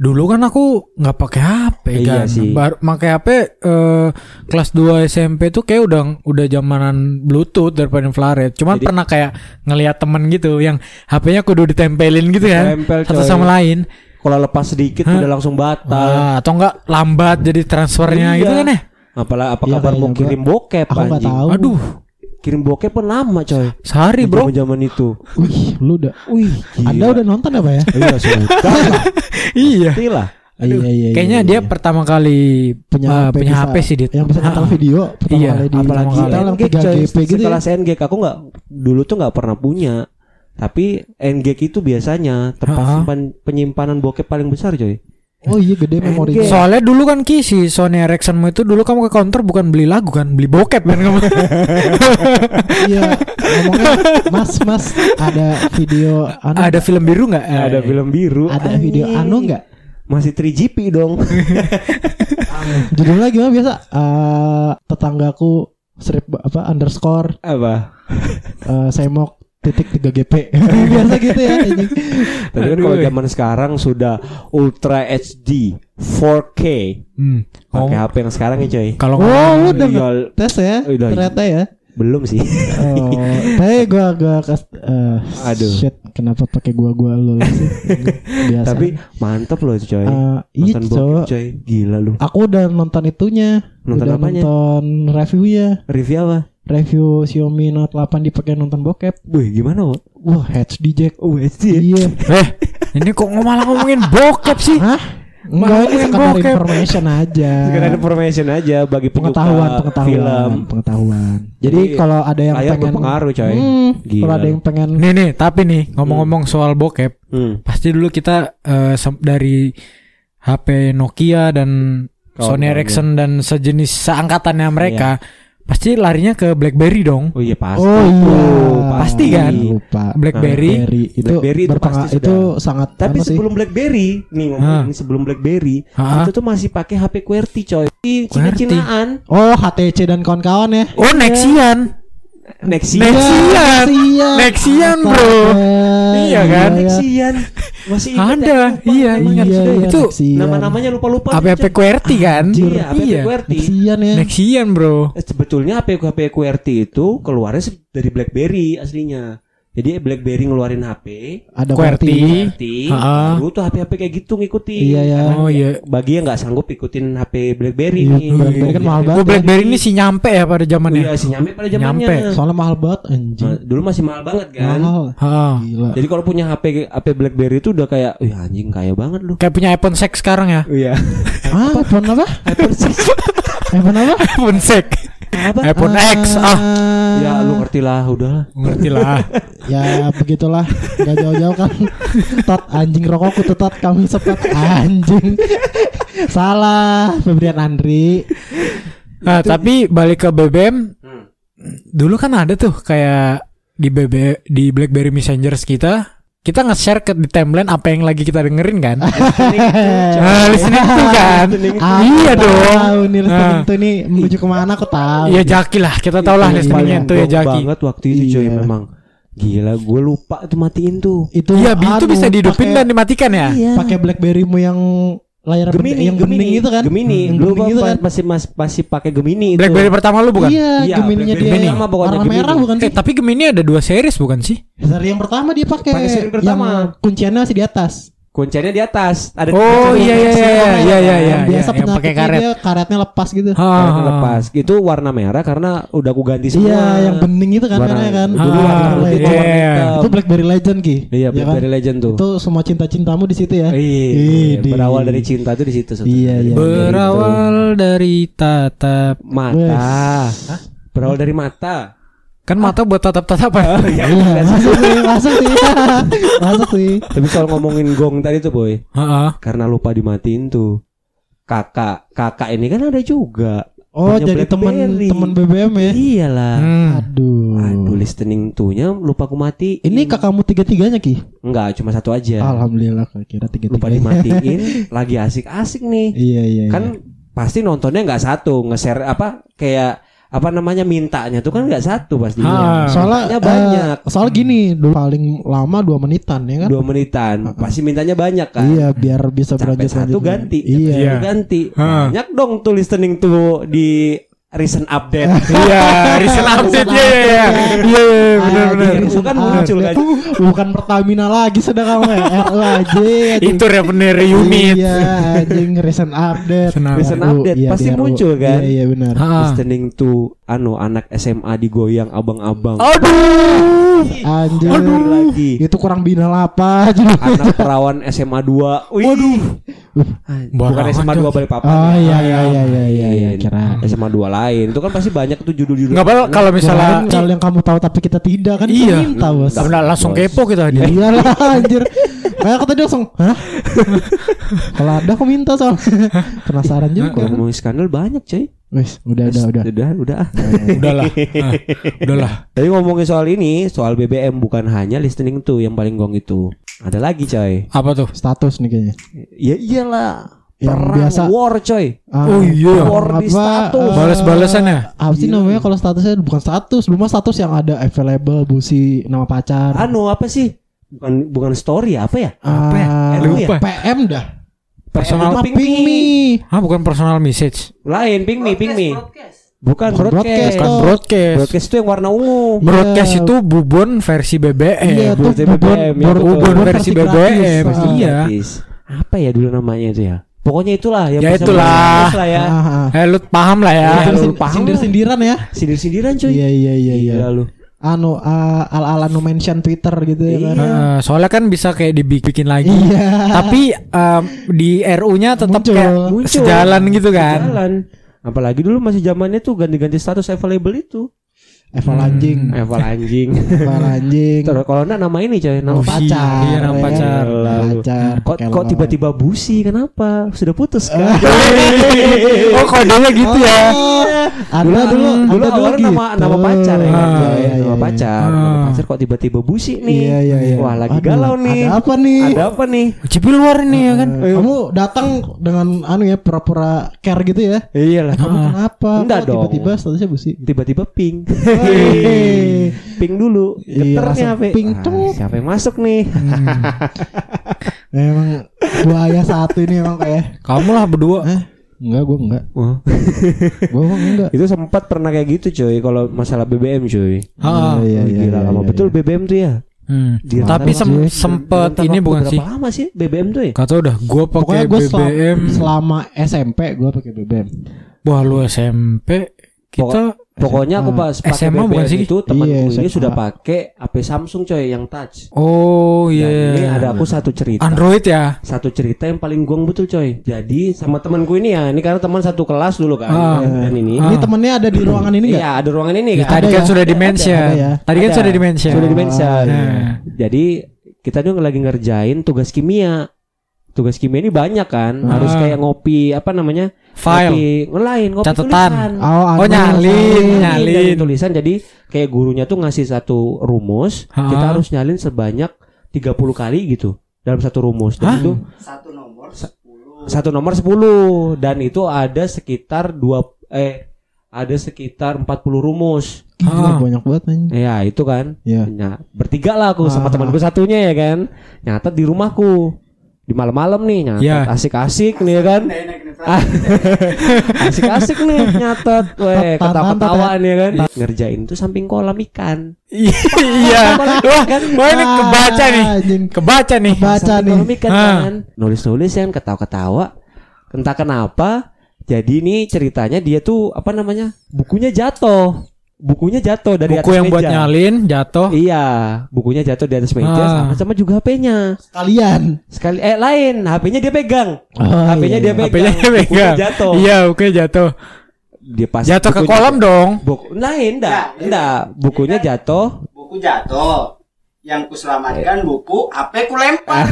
A: dulu kan aku nggak pakai HP
B: Iya
A: kan.
B: sih.
A: Baru pakai HP eh, kelas 2 SMP tuh kayak udah udah zamanan Bluetooth daripada infrared. Cuman
B: Jadi-
A: pernah kayak ngelihat temen gitu yang HP-nya kudu ditempelin gitu ya.
B: Tempel,
A: satu
B: coy.
A: sama lain.
B: Kalau lepas sedikit
A: Hah? Ah.
B: udah langsung batal.
A: Wah, atau enggak lambat jadi transfernya
B: Iya.
A: gitu kan ya?
B: Apalah apa
C: Iya,
B: kabar mau
C: kayaknya gua-
B: kirim bokep
C: Aku nggak
B: anjing.
C: tahu.
A: Aduh,
B: Kirim bokep pun lama coy.
A: sehari bro.
B: Zaman itu.
C: Wih, lu udah. Wih, anda udah nonton apa ya?
B: Iya sudah
A: Iya.
B: pasti lah.
C: Iya, iya, iya,
A: Kayaknya
C: iya,
A: dia
C: iya.
A: pertama kali punya,
C: punya,
A: punya HP sih dia.
C: Yang bisa nonton video pertama
A: Iya,
C: kali di
A: apalagi
C: kita
A: Pertama
C: yang
B: NGK
C: 3
B: coy.
C: GP gitu ya.
B: Sekelas NGK aku nggak dulu tuh nggak pernah punya. Tapi NGK itu biasanya tempat
A: Hah?
B: simpan- penyimpanan bokep paling besar coy.
C: Oh iya gede memori.
B: NGK.
A: Soalnya dulu kan Ki si Sony Ericssonmu itu dulu kamu ke counter bukan beli lagu kan, beli bokep kan kamu.
C: Iya, ngomongnya Mas, Mas, ada video anu
A: Ada film biru nggak? Eh,
B: Ada film biru.
C: ada video
B: Anjing.
C: anu enggak?
B: Masih 3GP dong.
C: Judulnya gimana biasa? Eh, tetanggaku strip apa underscore
B: apa?
C: eh, semok titik 3 GP. biasa gitu ya anjing.
B: Tapi kan kalau zaman sekarang sudah Ultra HD 4K
A: Hmm.
B: pakai
A: Ngom-
B: HP yang sekarang ya coy.
A: Kalau ngomong-
C: Oh, lu udah
B: Iya,
C: tes ya?
B: Udah.
C: Ternyata ya.
B: belum sih.
C: Oh, tapi gua gua kas, eh,
B: Aduh.
C: Shit, kenapa pakai gua gua lu sih? Biasa.
B: Tapi mantep loh itu coy.
C: Eh, iya,
B: Nonton
C: cowok.
B: bokep coy. Gila lu.
C: Aku udah nonton itunya,
B: Nonton
C: udah
B: apanya?
C: nonton reviewnya,
B: Review apa?
C: review Xiaomi Note 8 dipakai nonton bokep.
B: Wih, gimana kok?
C: Wah, HD jack.
B: Oh, USD.
C: Iya.
A: eh, ini kok malah ngomongin bokep sih?
C: Hah? Enggak ini
A: Ngomongin
C: sekedar
A: bokep.
C: information aja.
B: Sekedar information aja bagi penyuka
C: pengetahuan, pengetahuan,
B: film.
C: pengetahuan. Jadi
B: Jadi,
C: kalau ada yang
B: layar
C: pengen
B: berpengaruh, coy.
C: Hmm,
B: Gila
C: kalau ada
B: lu.
C: yang pengen
A: Nih nih, tapi nih ngomong-ngomong soal bokep,
B: Hmm.
A: pasti dulu kita eh, sem- dari HP Nokia dan
B: Kawan-kawan Iya.
A: Sony Ericsson dan sejenis seangkatannya mereka pasti larinya ke BlackBerry dong.
B: Oh iya pasti.
C: Oh iya,
A: Pasti kan?
C: Lupa.
A: BlackBerry.
C: Blackberry itu
B: Blackberry itu
C: berpenga-
B: pasti
C: itu
B: sudah.
C: sangat
B: Tapi
C: anu sih.
B: sebelum BlackBerry, nih
A: Hah.
B: ngomongin sebelum BlackBerry,
A: Hah?
B: itu tuh masih pakai HP QWERTY coy. Ih, Cina-cinaan.
C: Oh, HTC dan kawan-kawan ya.
B: Iya.
A: Oh Nexian.
B: Nexian.
A: Nexian.
C: Nexian.
A: Nexian,
C: Apa?
A: bro.
C: Eh,
A: Iya kan?
C: iya.
B: Nexian. Masih ingat ya?
A: Ada,
B: Lupa
A: iya,
B: namanya.
A: ingat.
C: Iya,
A: Sudah,
C: iya,
A: itu
C: Nexian.
B: ya? Nama-namanya lupa-lupa.
A: HP HP QWERTY kan?
B: Iya, HP
A: iya.
B: Iya. QWERTY.
C: Nexian ya.
A: Nexian bro.
B: Eh, Sebetulnya HP HP QWERTY itu keluarnya se- dari BlackBerry aslinya. Jadi BlackBerry ngeluarin HP,
C: Ada
A: QWERTY.
C: QWERTY.
B: QWERTY,
A: Ha-ha.
B: baru tuh HP-HP kayak gitu ngikutin.
C: Iya ya.
A: Oh iya.
B: Bagi yang nggak sanggup ikutin HP BlackBerry
C: Iya,
B: nih.
C: BlackBerry kan mahal
A: Gua
C: banget.
A: Oh, BlackBerry ini si nyampe ya pada
B: Iya,
A: zamannya.
B: sih nyampe pada zamannya.
A: Nyampe.
C: Soalnya mahal banget anjing.
B: Ma- Dulu masih mahal banget kan.
C: Mahal.
A: Heeh.
C: Gila.
B: Jadi kalau punya HP HP BlackBerry itu udah kayak, "Wih, anjing kaya banget lu."
A: Kayak punya iPhone 6 sekarang ya.
B: Iya.
C: Ah, iPhone apa? iPhone apa?
A: iPhone 6.
B: Apa?
A: iPhone X ah.
B: Ya lu ngerti lah, udahlah.
A: Ngerti lah.
C: Eh, Ya begitulah Gak jauh-jauh kan Tot anjing rokokku tetot kami sepet anjing Salah Febrian Andri
A: Nah, tapi balik ke BBM, dulu kan ada tuh kayak di BB di BlackBerry Messenger kita, kita nge-share ke di timeline apa yang lagi kita dengerin kan? nah, listening tuh kan.
C: Ah,
A: iya
C: aku
A: dong.
C: tahu nih listening
A: Nah.
C: tuh nih Menuju kemana aku tahu
A: Iya jaki lah, kita tau lah
C: Iya,
A: listeningnya
C: paling
A: tuh ya
B: Gong
A: jaki.
B: banget waktu itu coy
C: Iya.
B: memang. Gila, gue lupa tuh matiin tuh.
C: Itu
A: Iya, itu
C: anu,
A: bisa dihidupin
C: pakai-
A: dan dimatikan ya.
C: Pakai Blackberrymu yang layar bende- Iya, yang bening itu kan
B: Gemini.
C: Yang
B: Lu
C: bening
B: apa-
C: itu kan
B: masih mas- masih pakai Gemini itu.
A: BlackBerry pertama lu bukan?
C: Iya,
B: Iya,
C: Gemininya dia
B: Blackberry pertama pokoknya,
C: warna
B: Gemini.
C: merah bukan
A: Eh,
C: sih?
A: tapi Gemini ada dua series bukan sih?
C: Dari yang pertama dia pakai
B: Pakai seri pertama.
C: yang kunciannya masih di atas.
B: Kuncinya di atas. Ada
A: Oh
B: kuncinya
A: iya iya iya iya iya iya iya.
C: kan? yang biasa
A: yang pakai
C: penyakitnya
A: karet.
C: dia karetnya lepas gitu.
A: Ha, ha,
B: Karena
A: ha.
B: lepas. Itu warna merah karena udah aku ganti semua.
C: Iya, yang bening itu kan
B: Warna-
C: merahnya kan.
A: Ah,
C: Dulu warna
A: iya.
C: Blackberry Legend.
B: hitam.
C: Itu BlackBerry Legend Ki.
B: Iya,
C: Ya kan?
B: Blackberry Legend tuh.
C: Itu semua cinta-cintamu di situ ya.
B: Iya,
C: Idi.
B: berawal dari cinta tuh di situ. Sat.
C: Iya, iya.
A: Berawal dari tatap
B: Mata.
C: Ah.
B: Hah? Berawal dari mata.
A: kan mata buat ya? tatap-tatapan.
C: Iya, masuk sih, masuk sih. Masuk sih.
B: Tapi soal ngomongin gong tadi tuh boy,
A: Heeh.
B: karena lupa dimatiin tuh. Kakak, kakak ini kan ada juga.
C: Oh,
B: Punya
C: jadi teman
B: Blackberry.
C: teman BBM ya.
B: Iyalah.
A: Hmm.
C: Aduh.
B: Aduh, listening tuhnya lupa aku mati.
C: Ini kakakmu tiga-tiganya Ki.
B: Enggak, cuma satu
C: Iya.
B: aja.
C: Alhamdulillah kira
B: Lupa
C: tiga-tiganya.
B: dimatiin, lagi asik-asik nih.
C: Iya, iya. iya.
B: Kan pasti nontonnya nggak satu, nge-share apa kayak apa namanya mintanya tuh kan nggak satu pasti.
A: Ah.
C: Soalnya
B: Mintanya banyak.
C: eh, soal gini, dulu paling lama dua menitan ya kan?
B: Dua menitan, pasti mintanya banyak kan.
C: Iya, biar bisa
B: Sampai
C: berlanjut lanjut.
B: satu ganti,
C: Iya.
B: satu ganti. Banyak dong tuh listening tuh di recent update.
A: Iya, recent update ya. Iya, iya, iya, benar
C: Ah,
A: benar.
C: jadi
B: Itu kan
C: ah,
B: muncul
C: dia
B: kan.
C: tuh Bukan Pertamina lagi sedang kamu ya. RU aja. anjing.
A: Itu revenir unit.
C: gitu. Iya, anjing recent update.
A: Recent update.
B: Recent
C: RU,
B: update,
C: iya,
B: pasti
C: di RU.
B: muncul kan?
C: Iya, iya benar.
A: Ah.
B: Listening tuh anu anak SMA digoyang abang-abang.
A: Aduh.
C: Anjir.
B: Oh, Aduh lagi.
C: Itu kurang binal apa anjing.
B: Anak perawan SMA 2. Wih. Waduh. Bukan
A: Barangan,
B: SMA 2
A: Jos.
B: Balikpapan.
C: Oh
B: ya.
C: iya iya iya iya iya, iya
B: Iya,
C: kira.
B: SMA 2 lain. Itu kan pasti banyak tuh judul-judul.
A: Enggak apa-apa kalau misalnya
C: Kirain kalau yang kamu tahu tapi kita tidak kan
A: Iya.
C: minta bos.
A: Nah, nah, langsung
B: Bos.
A: kepo kita
C: Ya
A: dia.
C: iyalah anjir. Kayak aku tadi langsung, "Hah?" Kalau ada aku minta soalnya. Penasaran
A: Iya.
B: Yang
C: juga.
B: ngomongin skandal banyak, coy.
C: Wes, udah udah udah. Iya,
B: Udah, udah. ah.
A: Udahlah. Ah, Udahlah.
B: Tapi ngomongin soal ini, soal BBM bukan hanya listening tuh yang paling gong itu. Ada lagi, coy.
A: Apa tuh?
C: Status nih kayaknya.
B: Ya iyalah.
C: Yang
B: Perang
C: biasa.
B: war, coy.
C: Ah,
A: Oh iya.
B: War di
C: apa,
B: status.
C: eh,
A: Balas-balasan ya?
C: Apa sih namanya kalau statusnya bukan status, cuma status yang ada available, busi, nama pacar.
B: Anu apa sih? Bukan bukan story apa ya?
A: apa Oh, ya?
C: Ah,
B: Eh, lupa.
C: PM dah.
A: Personal
B: Itu
C: Apa
B: ping
C: ping
B: me.
C: me?
A: Ah, bukan personal message.
B: Lain, ping me, ping me. Bukan
C: Bukan broadcast.
B: broadcast.
A: Bukan
C: Oh.
A: broadcast.
B: Broadcast itu yang warna ungu.
A: Broadcast itu bubon versi
C: Iya,
A: BBM.
C: tuh
B: versi
C: bubon,
B: BBM, ya,
C: bor-
B: betul.
C: bubon
A: Bubon versi BBM.
C: gratis. Ah.
A: Iya.
B: Gratis. Apa ya dulu namanya itu ya? Pokoknya itulah yang
A: Ya
B: bisa
A: itulah.
B: menerobos lah ya.
C: Ah, ah.
A: Eh, lu paham lah ya.
B: Iya.
C: Sindir-
B: lu paham
C: sindir
B: lah.
C: sindiran ya.
B: Sindir-sindiran cuy.
C: Iya iya iya iya.
B: Gila lu.
C: Anu ah, ala-ala no mention Twitter gitu ya kan.
B: Iya.
A: Eh, soalnya kan bisa kayak dibikin lagi.
C: Iya.
A: Tapi em, di RU-nya tetap
C: Muncul.
A: kayak
B: Muncul.
A: sejalan gitu kan.
B: Jalan. Apalagi dulu masih zamannya tuh ganti-ganti status available itu.
C: Eval anjing,
B: Eval anjing.
C: Eval anjing.
B: Hmm. Terus kalau enggak nama ini coy, nama
A: Oh,
B: pacar.
C: pacar.
A: Iya, nama
C: ya.
A: pacar.
B: Lalu.
C: Pacar.
B: Kok
C: pakai
B: kok
C: lawan.
B: tiba-tiba busi? Kenapa? Sudah putus kan?
C: Iya.
A: oh kodenya gitu ya
C: Oh,
B: dulu
C: Anda
B: dulu dulu
C: Anda
B: awalnya nama
C: gitu.
B: nama pacar ya kan,
A: Ah,
B: Joy?
C: iya,
B: nama
C: iya,
B: pacar
A: iya.
B: nama
A: Ah.
B: pacar kok tiba-tiba busi nih
C: Iya iya iya.
B: wah lagi
C: Aduh,
B: galau nih
C: Ada apa nih?
B: Ada apa nih
C: Oh.
A: cipil luar nih ya kan
C: Kamu datang dengan anu ya pura-pura care gitu ya.
B: iya lah
C: Kamu
A: Ah.
C: kenapa?
B: Enggak
C: Kok
B: dong.
C: Tiba-tiba statusnya busi.
B: tiba-tiba ping
C: Hei.
B: ping dulu
C: Iya, langsung
B: geternya apa
C: ping,
B: Ah,
C: cuk.
B: siapa yang masuk nih
A: Hmm.
C: Emang buaya satu ini emang kayak.
A: kamu lah berdua
C: Hah? Enggak, gua enggak.
B: Wah.
C: Gua emang Oh, enggak.
B: itu sempat pernah kayak gitu coy kalau masalah BBM coy
A: Ah,
C: Iya, iya,
B: Wah, gila
C: iya,
B: lama
C: iya,
B: betul BBM tuh ya
A: Hmm.
B: Dia
A: tapi
B: tahu
A: sem-
C: sih.
A: sempet
B: Ntar
A: ini
B: waktu
A: bukan sih
B: berapa lama sih BBM tuh ya
A: kata udah gua
C: Pokoknya
A: pakai
C: gue selama,
A: BBM
C: selama SMP gue pakai BBM.
A: wah lu SMP kita
B: Pokoknya aku pas pakai
A: SMA bukan
B: BBM
A: sih?
B: itu temanku
C: Iya,
B: ini
C: SMA.
B: sudah pakai HP Samsung coy yang touch.
A: oh
C: Ya,
A: iya
B: Dan ini ada aku satu cerita.
A: Android ya
B: Satu cerita yang paling gong betul coy. Jadi sama temanku ini ya, ini karena teman satu kelas dulu kan.
A: Ah.
B: Dan ini.
A: Ah.
C: Ini temennya ada di ruangan ini enggak?
B: Iya, ada ruangan ini
A: Ya,
B: kan.
A: tadi
C: ada
A: kan
C: ya?
A: sudah dimention
C: Ada ya? Iya.
A: tadi kan
B: Ada.
A: sudah dimension
B: Sudah dimention.
A: Nah.
B: Jadi kita tuh lagi ngerjain tugas kimia. Tugas kimia ini banyak kan,
A: Ah.
B: harus kayak ngopi apa namanya?
A: file
B: Ngopi ngelain, ngopi
A: Catatan.
B: tulisan.
C: Oh,
A: Oh, nyalin,
B: Ini
A: nyalin.
B: dari tulisan jadi kayak gurunya tuh ngasih satu rumus,
A: Ha?
B: kita harus nyalin sebanyak 30 kali gitu dalam satu rumus. Dan
A: Hah?
B: itu satu nomor 10 dan itu ada sekitar dua eh ada sekitar 40 rumus.
A: Ah.
C: Gila, banyak banget anjing.
B: Ya, itu kan.
C: Iya.
B: Nah, bertiga lah aku sama
C: Ah.
B: temanku satunya ya kan. Nyatet di rumahku. Di malam-malam nih nyatet
A: Ya.
B: asik-asik nih ya kan. Ah. asik-asik nih nyatet. Weh,
C: Tet, tet,
B: ketawa-ketawaan ya kan. Ngerjain tuh samping kolam ikan.
A: iya wah wah ini kebaca nih
C: Ah, Anjing.
A: kebaca nih
C: Kebaca
B: Samping
C: nih.
B: kolam ikan
A: Ah.
B: kan. Nulis-nulis kan ketawa-ketawa. Entah kenapa jadi ini ceritanya dia tuh apa namanya? Bukunya jatuh. Bukunya jatuh dari
A: buku
B: atas
A: yang buat
B: meja.
A: nyalin jatuh
B: Iya, bukunya jatuh di atas meja
A: Ah.
B: sama sama juga HP-nya.
C: Kalian.
B: Sekali eh lain, HP-nya dia pegang.
C: Oh,
B: HP-nya
C: iya.
B: dia
A: HP-nya
B: pegang. bukunya
A: pegang
B: jatuh.
A: ya? iya oke jatuh
B: Dia pas
A: jatuh ke
B: bukunya-
A: kolam dong
B: Buku, lain enggak, enggak. Bukunya jatuh.
E: buku jatuh yang kuselamatkan buku HP ku lempar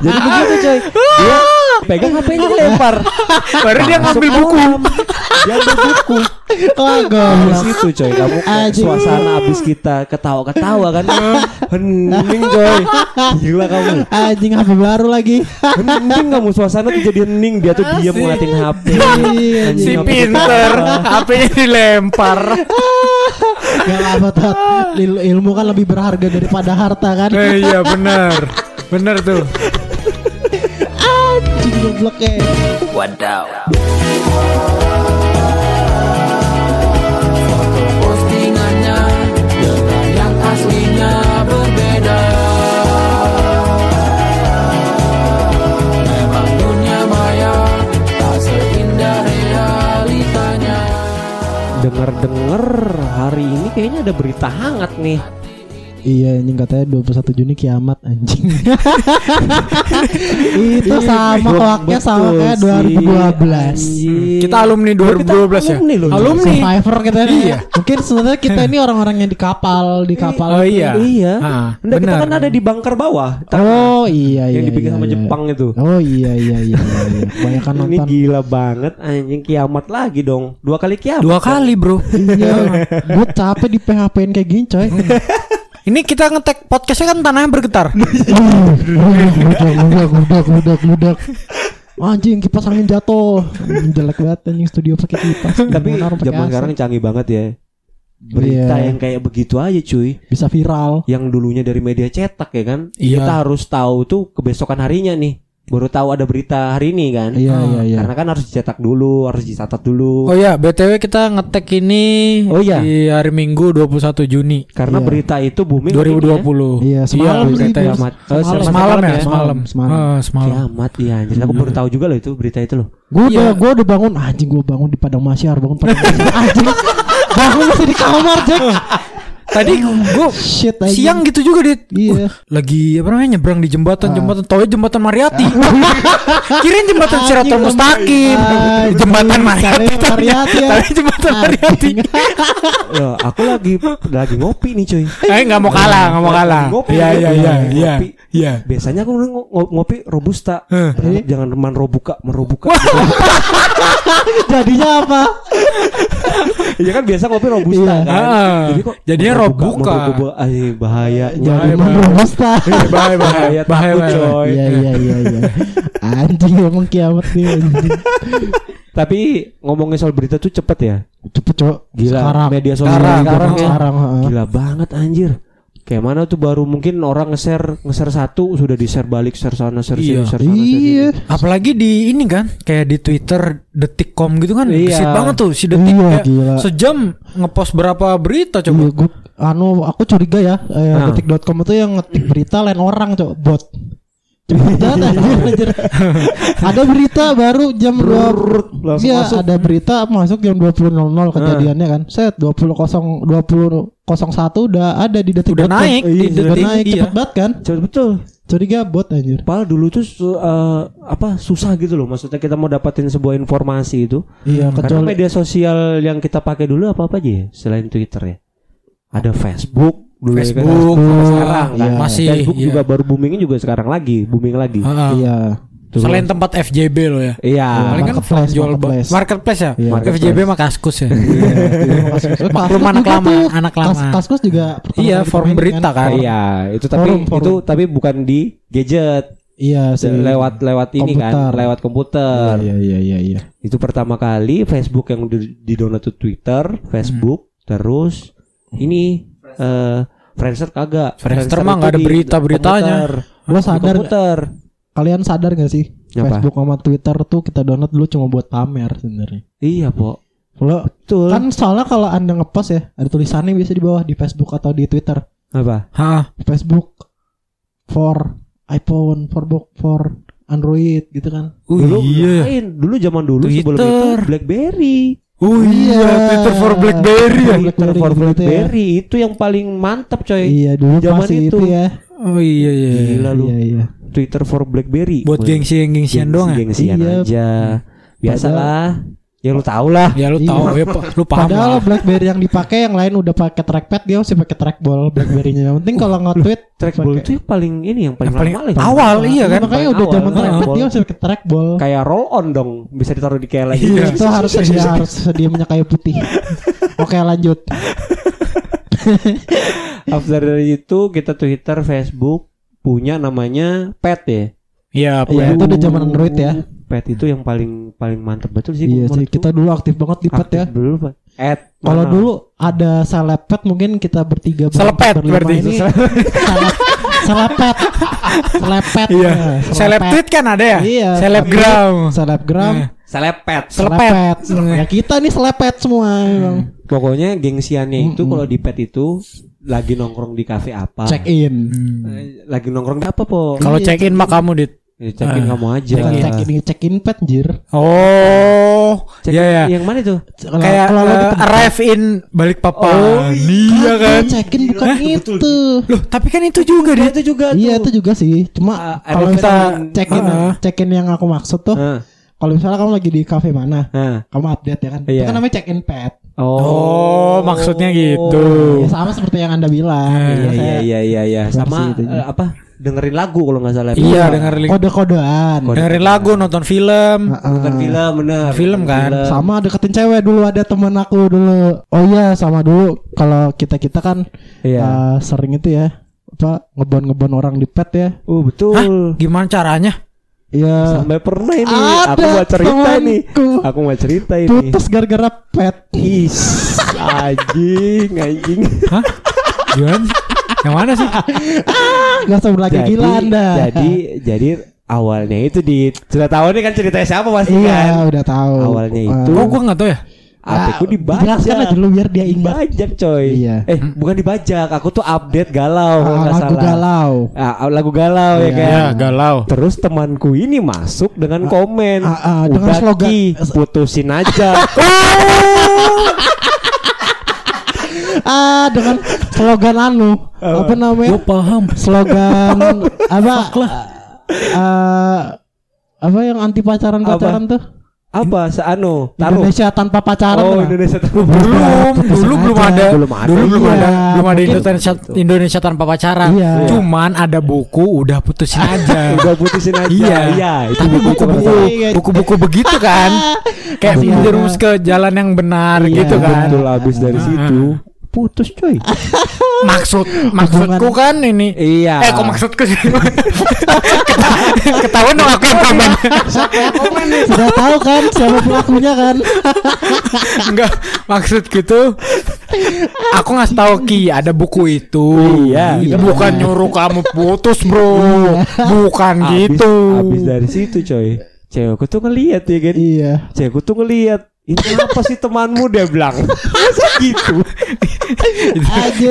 B: Jadi begitu coy. Dia pegang HP-nya dilempar.
A: baru dia ngambil buku
B: Dia ambil buku.
A: Ah,
C: Oh, goblok.
B: Habis itu coy, kamu kayak
C: Anjing.
B: suasana habis kita ketawa-ketawa kan. Hening coy. Gila kamu.
C: Anjing HP baru lagi.
B: Hening kamu suasana tuh jadi hening, dia tuh diam ngeliatin HP.
C: Iya,
A: si
B: Anjing, HP-nya
A: pinter HP-nya dilempar
C: Gak apa Tot. Il- Ilmu kan lebih berharga daripada harta kan.
A: Eh, iya benar benar tuh
C: Anjing goblok ya.
D: Wadaw
B: Dengar-dengar hari ini kayaknya ada berita hangat nih.
C: Iya anjing katanya 21 Juni kiamat anjing.
A: Iya,
C: Itu sama hoaknya sama kayak 2012.
A: kita alumni 2012 ya
B: alumni loh.
A: alumni
C: Survivor kita nih.
A: Iya.
C: Mungkin sebenarnya kita ini orang-orang yang di kapal, di kapal.
A: oh iya
B: Iya.
A: Ah,
B: Nah, kita
A: benar.
B: kan ada di bunker bawah.
C: Oh iya iya.
B: yang dibikin
C: iya,
B: sama
C: iya.
B: Jepang itu.
C: Oh iya iya iya. iya, iya. Kebanyakan
B: ini
C: nonton.
B: gila banget anjing kiamat lagi dong. Dua kali kiamat.
A: dua kali bro
C: Iya. Gue capek di PHP-in kayak gini coy.
A: ini kita ngetek podcastnya kan tanahnya bergetar
C: Gudak gudak gudak gudak. Anjing kipas angin jatuh. Anjing, Jelek banget anjing studio pakai kipas.
B: Tapi
C: Benar, pakai
B: zaman
C: AC.
B: sekarang canggih banget ya. Berita
C: Iya.
B: yang kayak begitu aja cuy.
C: bisa viral.
B: Yang dulunya dari media cetak ya kan.
A: Iya.
B: Kita harus tahu tuh kebesokan harinya nih. Baru tahu ada berita hari ini kan.
C: Iya iya iya.
B: Karena kan harus dicetak dulu, harus dicatat dulu.
A: Oh ya, BTW kita ngetek ini
B: Oh iya.
A: di hari Minggu 21 Juni
B: Karena
C: Iya.
B: berita itu booming ya.
A: 2020.
C: Iya, semalam
A: Iya,
C: sih,
A: BTW. Semalam,
C: Bos.
B: Kiamat. Eh,
C: Semalam.
A: ya,
B: ya?
A: semalam.
C: Semalam.
A: Eh, semalam.
B: Kiamat iya anjir. Aku baru tahu juga loh itu berita itu loh.
C: Gue
A: Iya.
C: udah gue udah bangun anjing gue bangun di padang masyar bangun padang masyar anjing bangun masih di kamar Jack
A: Tadi gue
C: Shit aja.
A: siang gitu juga dit
C: Iya. Ah.
A: Wah, lagi apa namanya nyebrang di jembatan jembatan taunya jembatan Mariati kirain jembatan
C: Anjing, Ah,
A: Sirato Mustaqim
C: anjing.
A: jembatan Mariati
C: Taunya Mariati ya.
A: tapi jembatan Mariati
C: Anjing.
B: Loh, aku lagi lagi ngopi nih cuy.
A: eh nggak mau kalah nggak mau kalah
B: Ngopi,
A: iya iya
B: ngopi,
A: iya
B: ngopi.
A: iya iya
B: Biasanya aku ng- ng- ngopi robusta.
A: Heh.
B: Berharap Jangan man robuka, merobuka.
C: Jadinya apa?
B: Iya kan biasa ngopi robusta
C: Iya.
B: kan.
A: Ah, jadinya
B: merobuka,
A: robuka.
B: merobuka. Ay, bahaya.
C: Jadi
A: Bahaya,
C: man
A: bahaya.
C: robusta.
A: bahaya bahaya
B: Bahaya,
A: bahaya
B: takut,
A: bahaya.
B: coy.
C: Iya iya iya iya. Anjing emang kiamat nih anjing.
B: Tapi ngomongin soal berita tuh cepet ya.
C: Cepet cok.
B: Gila.
C: Sekarang.
B: Media sosial
C: Sekarang. Sekarang.
B: ya.
C: Sekarang. heeh.
B: Gila banget anjir. Kayak mana tuh baru mungkin orang nge-share nge-share satu sudah di-share balik share sana share sini
A: Iya.
B: share sana share sini.
C: Iya.
A: apalagi di ini kan kayak di Twitter detikcom gitu kan
B: Iya.
A: gesit banget tuh si detik
C: Iya,
A: kayak
C: gila.
A: sejam ngepost berapa berita
C: Iya,
A: coba
C: gua, anu aku curiga ya, eh,
B: Ah.
C: detik.com itu yang ngetik berita lain orang cok bot. Cepet banget, anjir, anjir. ada berita baru jam dua
B: langsung
C: Iya,
B: masuk.
C: ada berita masuk jam 20.00
A: Ah.
C: kejadiannya kan. Set 20.0 20.01 udah ada di detik.com.
A: Udah naik di
C: Iya, udah
A: detik,
C: naik
A: iya.
C: cepet banget kan?
B: Cepet betul.
C: Curiga bot anjir.
B: Padahal dulu tuh su- eh, apa susah gitu loh maksudnya kita mau dapatin sebuah informasi itu.
C: Iya,
B: Karena
C: kecuali
B: media sosial yang kita pakai dulu apa-apa aja ya selain Twitter ya. Ada Facebook dulu ya kan.
A: Facebook
B: Sampai sekarang kan.
A: iya. Masih,
B: Facebook
A: iya.
B: juga baru boomingnya juga sekarang lagi, booming lagi.
A: Heeh.
C: iya.
B: Tuh.
A: selain tempat FJB lo ya
B: Iya.
A: Paling kan
C: Marketplace,
A: jual ba-
C: marketplace.
A: marketplace ya.
C: Iya,
A: FJB mah kaskus ya. Maklum
C: Kaskus
A: anak
C: juga
A: lama,
C: tuh,
A: anak lama.
C: kas- Kaskus juga pertama
A: Iya,
C: kali
A: forum
C: dimainin
A: berita kan.
B: Iya, itu tapi
C: Forum, forum.
B: itu tapi bukan di gadget.
C: Iya, sih.
B: lewat lewat ini
C: Komputer.
B: kan, lewat komputer.
C: Iya, iya, iya, iya.
B: Itu pertama kali Facebook yang di, di download tuh Twitter, Facebook, terus ini eh Friendster kagak.
A: Friendster mah
B: itu
A: nggak ada
B: di
A: berita-beritanya.
B: komputer.
C: Lo
B: Di
C: sadar
B: komputer.
C: kalian sadar gak sih
B: Apa?
C: Facebook sama Twitter tuh kita download dulu cuma buat pamer sebenarnya.
B: Iya, Po.
C: Lo
B: Betul.
C: kan soalnya kalau anda ngepost ya ada tulisannya biasa di bawah di Facebook atau di Twitter.
B: Apa?
A: Hah,
C: Facebook for iPhone, for book, for Android gitu kan.
A: oh
B: dulu
A: iya.
B: ngapain? Dulu zaman dulu sebelum itu
A: Twitter.
B: BlackBerry.
A: Oh iya, Twitter for BlackBerry ya.
B: Twitter for
C: gitu ya.
B: BlackBerry itu yang paling mantap coy.
C: Iya dulu
B: Eh, Zaman
C: masih itu,
B: itu.
C: ya.
A: Oh iya iya.
B: Gila lu.
C: Iya iya.
B: Twitter for BlackBerry.
A: Buat gengsi gengsian doang ya.
B: Gengsian
C: Iya.
B: aja. Biasalah. Ya lu tau lah.
A: Ya lu
C: Iya.
A: tahu ya, Pak. lu paham.
C: Padahal
A: lah.
C: BlackBerry yang dipakai yang lain udah pakai trackpad dia masih pakai trackball BlackBerry-nya. Yang penting kalau nge-tweet
B: Trackball
C: pakai-
B: itu yang paling ini yang paling,
A: Yang paling
B: lama lah.
A: awal iya kan.
C: Makanya
B: Paling
C: udah
B: awal.
C: zaman trackpad
B: Trackball.
C: dia masih pakai trackball.
B: Kayak roll on dong, bisa ditaruh di kayak lagi.
A: Iya.
C: Itu harus dia harus sediamnya kayu putih. Oke lanjut.
B: After dari itu kita Twitter, Facebook punya namanya Pet ya.
A: Iya, apa
C: Iya
A: ya?
C: itu udah zaman Android ya.
B: Pet itu yang paling paling mantap betul sih.
C: Iya sih
B: menurut
C: kita dulu aktif banget di
B: gua.
C: pet ya.
B: Aktif Dulu, Pak. At
C: Kalau
B: mana?
C: dulu ada salepet mungkin kita bertiga ber-
A: Selepet
C: berlima
A: berarti.
C: ini salep- salepet salepet
A: Iya.
C: Nah,
A: Seleb tweet kan ada ya?
C: Iya,
A: Selebgram.
C: selebgram
A: Iya.
B: selepet.
A: Selepet. Hmm.
C: selepet ya kita nih selepet semua emang
B: Pokoknya gengsiannya itu
C: Mm-mm.
B: kalau di Pet itu lagi nongkrong di kafe
A: Ah.
B: apa?
C: check in
A: Hmm.
B: Eh, Lagi nongkrong di apa, Po?
A: Kalau
C: Iya.
A: check in mah kamu dit.
B: Ya, Cekin
A: Ah.
B: kamu aja.
C: Bukan check in check in pet anjir
A: Oh,
B: Check
A: iya ya.
B: Yang mana itu?
C: Kalau-
A: Kayak
C: kalau lo
A: eh,
C: ketemu-
A: arrive in balik papa.
B: Oh,
A: iya kan.
C: Kagak, check in bukan
A: Hah?
C: itu
A: Loh, tapi kan itu juga
B: Dia
A: dit.
B: itu juga
C: iya itu
B: tuh.
C: juga sih
B: Ah,
C: cuma kalau
B: arrive
C: misalnya
B: in-
C: check in
A: Ah.
C: check in yang aku maksud tuh
B: Heeh.
C: kalau misalnya kamu lagi di kafe mana
B: Heeh.
C: kamu update ya kan itu
B: Iya.
C: kan namanya check in pet
A: Oh, maksudnya gitu.
C: Ya, sama seperti yang anda bilang.
B: Iya
C: Biasanya
B: iya iya iya iya.
C: Versi
B: Sama
C: itu.
B: eh, apa? Dengerin lagu kalau nggak salah.
A: Iya, dengerin
C: Kode-kodean.
B: Kode-
A: dengerin lagu, nonton film.
C: Heeh.
B: Nonton film bener.
A: Film kan.
B: Film.
C: Sama deketin cewek dulu ada temen aku dulu. Oh iya sama dulu kalau kita kita kan
B: Iya.
C: eh, sering itu ya apa ngebon ngebon orang di pet ya.
B: Oh betul.
A: Hah? Gimana caranya?
C: Iya.
B: Sampai pernah ini.
C: Ada
B: Aku mau cerita nih.
C: temanku.
B: Aku mau cerita ini.
C: Putus gara-gara pet.
B: Iya. Is, anjing, anjing.
A: Hah? Gimana? Yang mana sih?
C: Gak usah berlagak gila anda.
B: jadi, jadi awalnya itu di sudah tahu nih kan ceritanya siapa pasti
C: iya
B: kan.
C: udah tahu.
B: Awalnya
C: Eh,
B: itu.
A: Oh, gua nggak tahu ya.
B: Apa
C: Ah,
B: aku dibajak.
C: Jelaskan aja dulu biar dia ingat.
B: Dibajak coy.
C: Iya.
B: Eh, bukan dibajak, aku tuh update galau kalau
C: Ah,
B: nggak
C: lagu
B: salah.
C: galau.
B: Ah, lagu galau ya
C: Iya.
B: kan.
A: galau.
B: Terus temanku ini masuk dengan komen,
C: ah, ah, dengan
B: udah
C: slogan-
B: Ki, putusin aja.
C: Ah dengan slogan anu apa namanya
A: Gue paham.
C: slogan apa eh, apa yang anti pacaran pacaran tuh
B: Apa seano taruh.
C: Indonesia tanpa pacaran Nah.
B: Oh,
C: lah.
B: Indonesia taruh.
A: belum
C: Bisa
A: dulu belum
C: aja.
A: ada
B: Belum ada.
A: dulu belum ada
C: Iya,
A: Gitu. belum ada
C: mungkin
A: Indonesia Indonesia tanpa pacaran
C: Iya.
A: cuman ada buku udah putusin aja
B: Udah putusin aja.
A: Iya.
B: itu
A: tapi
B: buku itu
A: buku-buku
B: pertama.
C: Iya.
A: buku-buku begitu kan kayak
C: Masih ada.
A: menjerumus ke jalan yang benar
C: Iya.
A: gitu kan
B: Iya. Betul habis dari situ putus coy.
A: maksud maksudku kan ini
B: Iya.
A: eh kok maksudku sih Keta- ketahuan dong aku yang
B: Iya.
A: tambah
C: sudah tahu kan siapa pelakunya kan
A: enggak maksud gitu aku ngasih tahu Ki ada buku itu
B: Iya.
A: bukan nyuruh kamu putus bro bukan gitu
B: Habis dari situ coy. Cewekku tuh ngeliat ya kan.
C: iya
B: Cewekku tuh ngeliat. Ini apa sih temanmu dia bilang. Masa gitu.
C: aja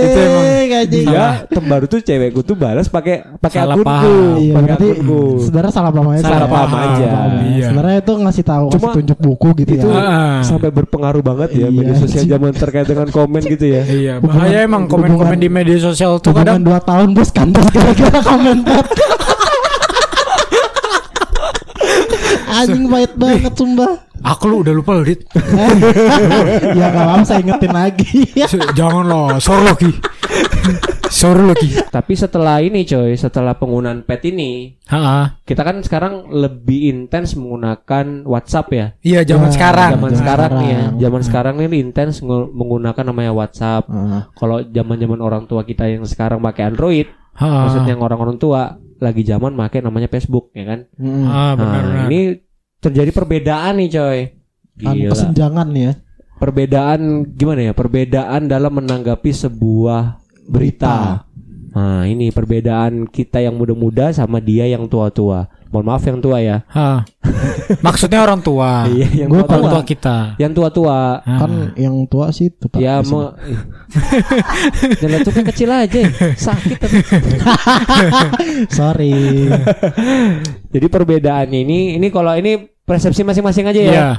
C: anjing
B: Dia tem- baru tuh cewekku tuh balas pakai pakai
A: Iya. Salah
B: akunku,
A: paham.
C: Iya,
B: pakai
C: berarti
B: akunku.
C: sebenarnya salah paham aja.
B: Ah, Salah paham aja.
A: Iya.
C: Sebenarnya itu ngasih tahu,
B: Cuma
C: ngasih tunjuk buku gitu
B: Itu
C: ya.
A: Ah.
B: sampai berpengaruh banget ya
C: Iya,
B: media sosial
C: anjing.
B: zaman terkait dengan komen gitu ya.
A: Iya,
C: Hubungan-
A: bahaya emang komen-komen
C: hubungan-
A: di media sosial tuh
C: Hubungan
A: kadang
C: dua tahun bos kantor gara-gara komentar. Anjing pahit banget sumpah.
A: aku lu udah lupa loh, Dit.
C: ya gak apa saya ingetin lagi.
A: Se- Jangan loh, sor lo Ki. Sor lo Ki.
B: Tapi setelah ini coy, setelah penggunaan pet ini,
A: Heeh.
B: kita kan sekarang lebih intens menggunakan WhatsApp ya.
A: Iya, zaman
C: Ya,
A: sekarang. Hmm.
B: Zaman
C: Zaman
B: sekarang nih ya,
C: sekarang.
B: zaman sekarang ini intens nge- menggunakan namanya WhatsApp. Kalau zaman-zaman orang tua kita yang sekarang pakai Android,
A: Heeh.
B: maksudnya yang orang-orang tua lagi zaman pakai namanya Facebook ya kan.
A: Ah, benar,
B: Nah,
A: benar.
B: ini terjadi perbedaan nih coy.
C: Anu
B: Gila.
C: kesenjangan ya.
B: perbedaan gimana ya perbedaan dalam menanggapi sebuah berita nah ini perbedaan kita yang muda-muda sama dia yang tua-tua mohon maaf yang tua ya
A: Heeh. Maksudnya orang tua.
B: iya yang
C: Gua
A: Orang tua
B: tua-tua
A: kita.
B: yang tua-tua
A: Ah.
C: Kan yang tua sih itu Pak.
B: ya
C: Biasanya.
B: mau jangan tuh kan kecil aja sakit tapi
C: Sorry.
B: jadi perbedaannya ini ini kalau ini persepsi masing-masing aja ya
A: Iya.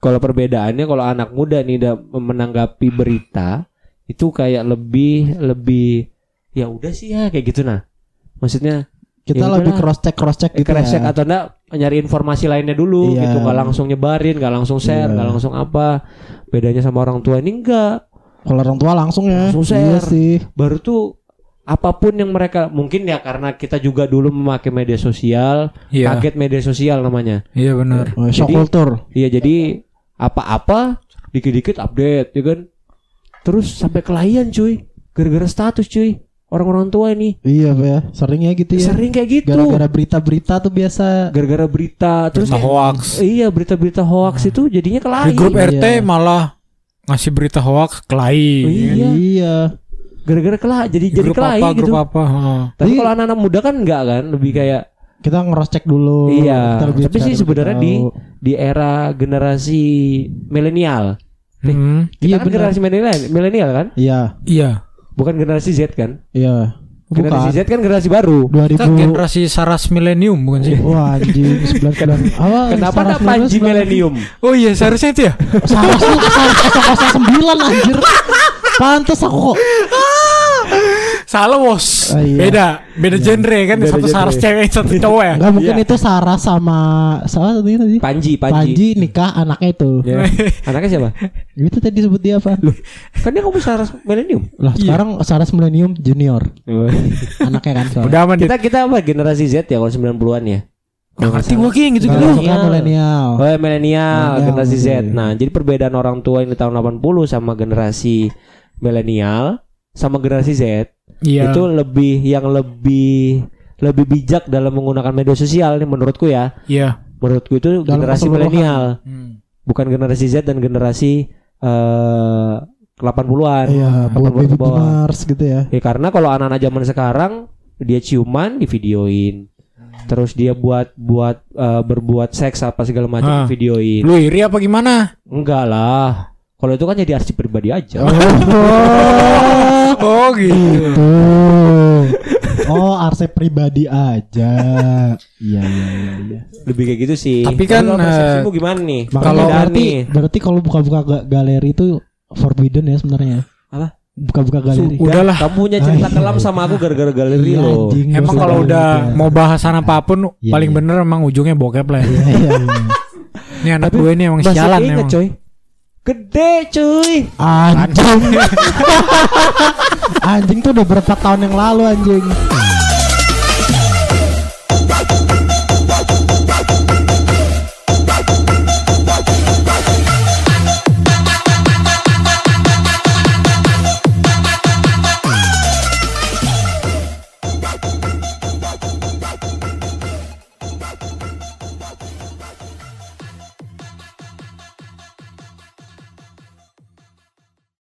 B: Kalau perbedaannya kalau anak muda nih da- menanggapi berita itu kayak lebih lebih ya udah sih ya kayak gitu nah. Maksudnya
C: Kita
B: Ya
C: lebih
B: udahlah.
C: cross check cross check gitu
B: crash
C: ya.
B: atau enggak nyari informasi lainnya dulu
C: Iya.
B: gitu nggak langsung nyebarin, nggak langsung share,
C: Iya.
B: nggak langsung apa. Bedanya sama orang tua ini enggak.
C: Kalau orang tua langsung ya.
B: Langsung
C: Iya
B: share.
C: sih.
B: Baru tuh apapun yang mereka mungkin ya karena kita juga dulu memakai media sosial,
A: Iya.
B: kaget media sosial namanya.
A: Iya benar.
C: Oh, Shock
B: Jadi-
C: culture.
B: Iya jadi apa-apa dikit-dikit update ya kan. Terus sampai kelayan cuy. Gara-gara status cuy. Orang-orang tua ini
C: Iya ya. Seringnya gitu ya.
B: sering kayak gitu.
C: Gara-gara berita-berita tuh biasa
B: Gara-gara berita terus
A: Berita hoax.
B: Iya berita-berita hoax itu jadinya
A: Di
B: kelayan.
A: grup
C: Iya.
A: RT malah ngasih berita hoax kelahi.
B: Iya.
C: Iya.
B: Gara-gara kelah jadi jadi
A: Grup
B: kelahi
A: apa,
B: gitu.
A: grup apa. heeh.
B: Tapi
C: Jadi-
B: kalau anak-anak muda kan enggak kan lebih kayak
C: Kita ngeros cek dulu.
B: Iya.
C: Kita lebih
B: Tapi
C: Oh, cari
B: sih sebenarnya
C: tahu.
B: di di era generasi milenial. Nih,
A: Hmm.
C: Iya
B: Kita kan
C: benar.
B: generasi milenial milenial kan?
C: Iya.
A: Iya.
B: Bukan generasi Z kan?
C: Iya.
B: Generasi
C: Bukan.
B: Z kan generasi baru.
C: 2000
A: Kita generasi Saras Milenium bukan
B: Iya.
A: sih?
C: Wah anjing 99 Apa
B: Kenapa ada
C: Saras
B: Panji
C: 99?
B: Milenium?
A: Oh iya, seharusnya itu ya.
C: Saras lu Saras 009 anjir Pantes aku kok
A: Salah bos.
C: Ah, iya.
A: Beda, beda genre kan.
B: Beda
A: satu
B: genre.
A: saras cewek, satu cowok ya.
C: Enggak mungkin
B: Iya.
C: itu Saras sama Saras tadi tadi
B: Panji, Panji.
C: Panji nikah anaknya itu
B: Ya. Anaknya siapa? Iya.
C: Itu tadi sebut dia apa
B: Kan dia kamu Saras Milenium.
C: Lah sekarang Saras Millennium Junior Anaknya kan soalnya.
A: Udah aman
B: kita kita apa generasi Z ya kalau 90-an ya?
A: Gak ngerti gue ki yang
C: Nggak,
A: gitu-gitu.
C: suka milenial
B: Oh, ya, milenial,
C: Milenial,
B: generasi Z.
C: oke.
B: Nah, jadi perbedaan orang tua yang di tahun 80 sama generasi milenial sama generasi Z
A: Iya.
C: Ya.
B: itu lebih yang lebih lebih bijak dalam menggunakan media sosial nih menurutku ya.
A: Iya.
B: Menurutku itu
C: Dalam
B: generasi
C: keseluruhan.
B: milenial,
C: Hmm.
B: bukan generasi Z dan generasi eh 80-an.
C: Iya buat
B: 80-an ke
C: baby
B: bawah.
C: boomers gitu ya
B: Ya karena kalau anak-anak zaman sekarang dia ciuman divideoin. Terus dia buat buat eh, berbuat seks apa segala
A: Ah.
B: macam videoin.
A: Lu iri apa gimana?
B: Enggak lah. Kalau itu kan jadi arsip pribadi aja.
C: Ah.
A: Oh gitu.
C: Tuh. Oh, arsip pribadi aja. Iya, iya, iya, iya.
B: Lebih kayak gitu sih.
A: Tapi kan,
B: Kalau
A: eh,
B: persepsimu gimana nih?
C: Makanya
A: Kalau-
B: Perbedaan
C: berarti
B: nih.
C: berarti kalau buka-buka ga- galeri itu forbidden ya sebenarnya.
B: Apa?
C: buka-buka galeri.
B: Sudah,
A: Udahlah.
B: Kamu punya cerita kelam sama aku gara-gara galeri
C: Iya,
B: lo.
C: anjing, gitu ya.
A: Emang
C: gua
A: kalau
C: suka
A: udah
C: galeri.
A: mau bahasan apapun
C: Iya,
A: paling
C: iya.
A: bener emang ujungnya bokep lah. ya.
C: Iya, iya, iya.
A: Ini anak gue ini emang sialan
B: inget,
A: emang.
B: coy. Gede cuy.
C: Anjing. anjing tuh udah berapa tahun yang lalu anjing.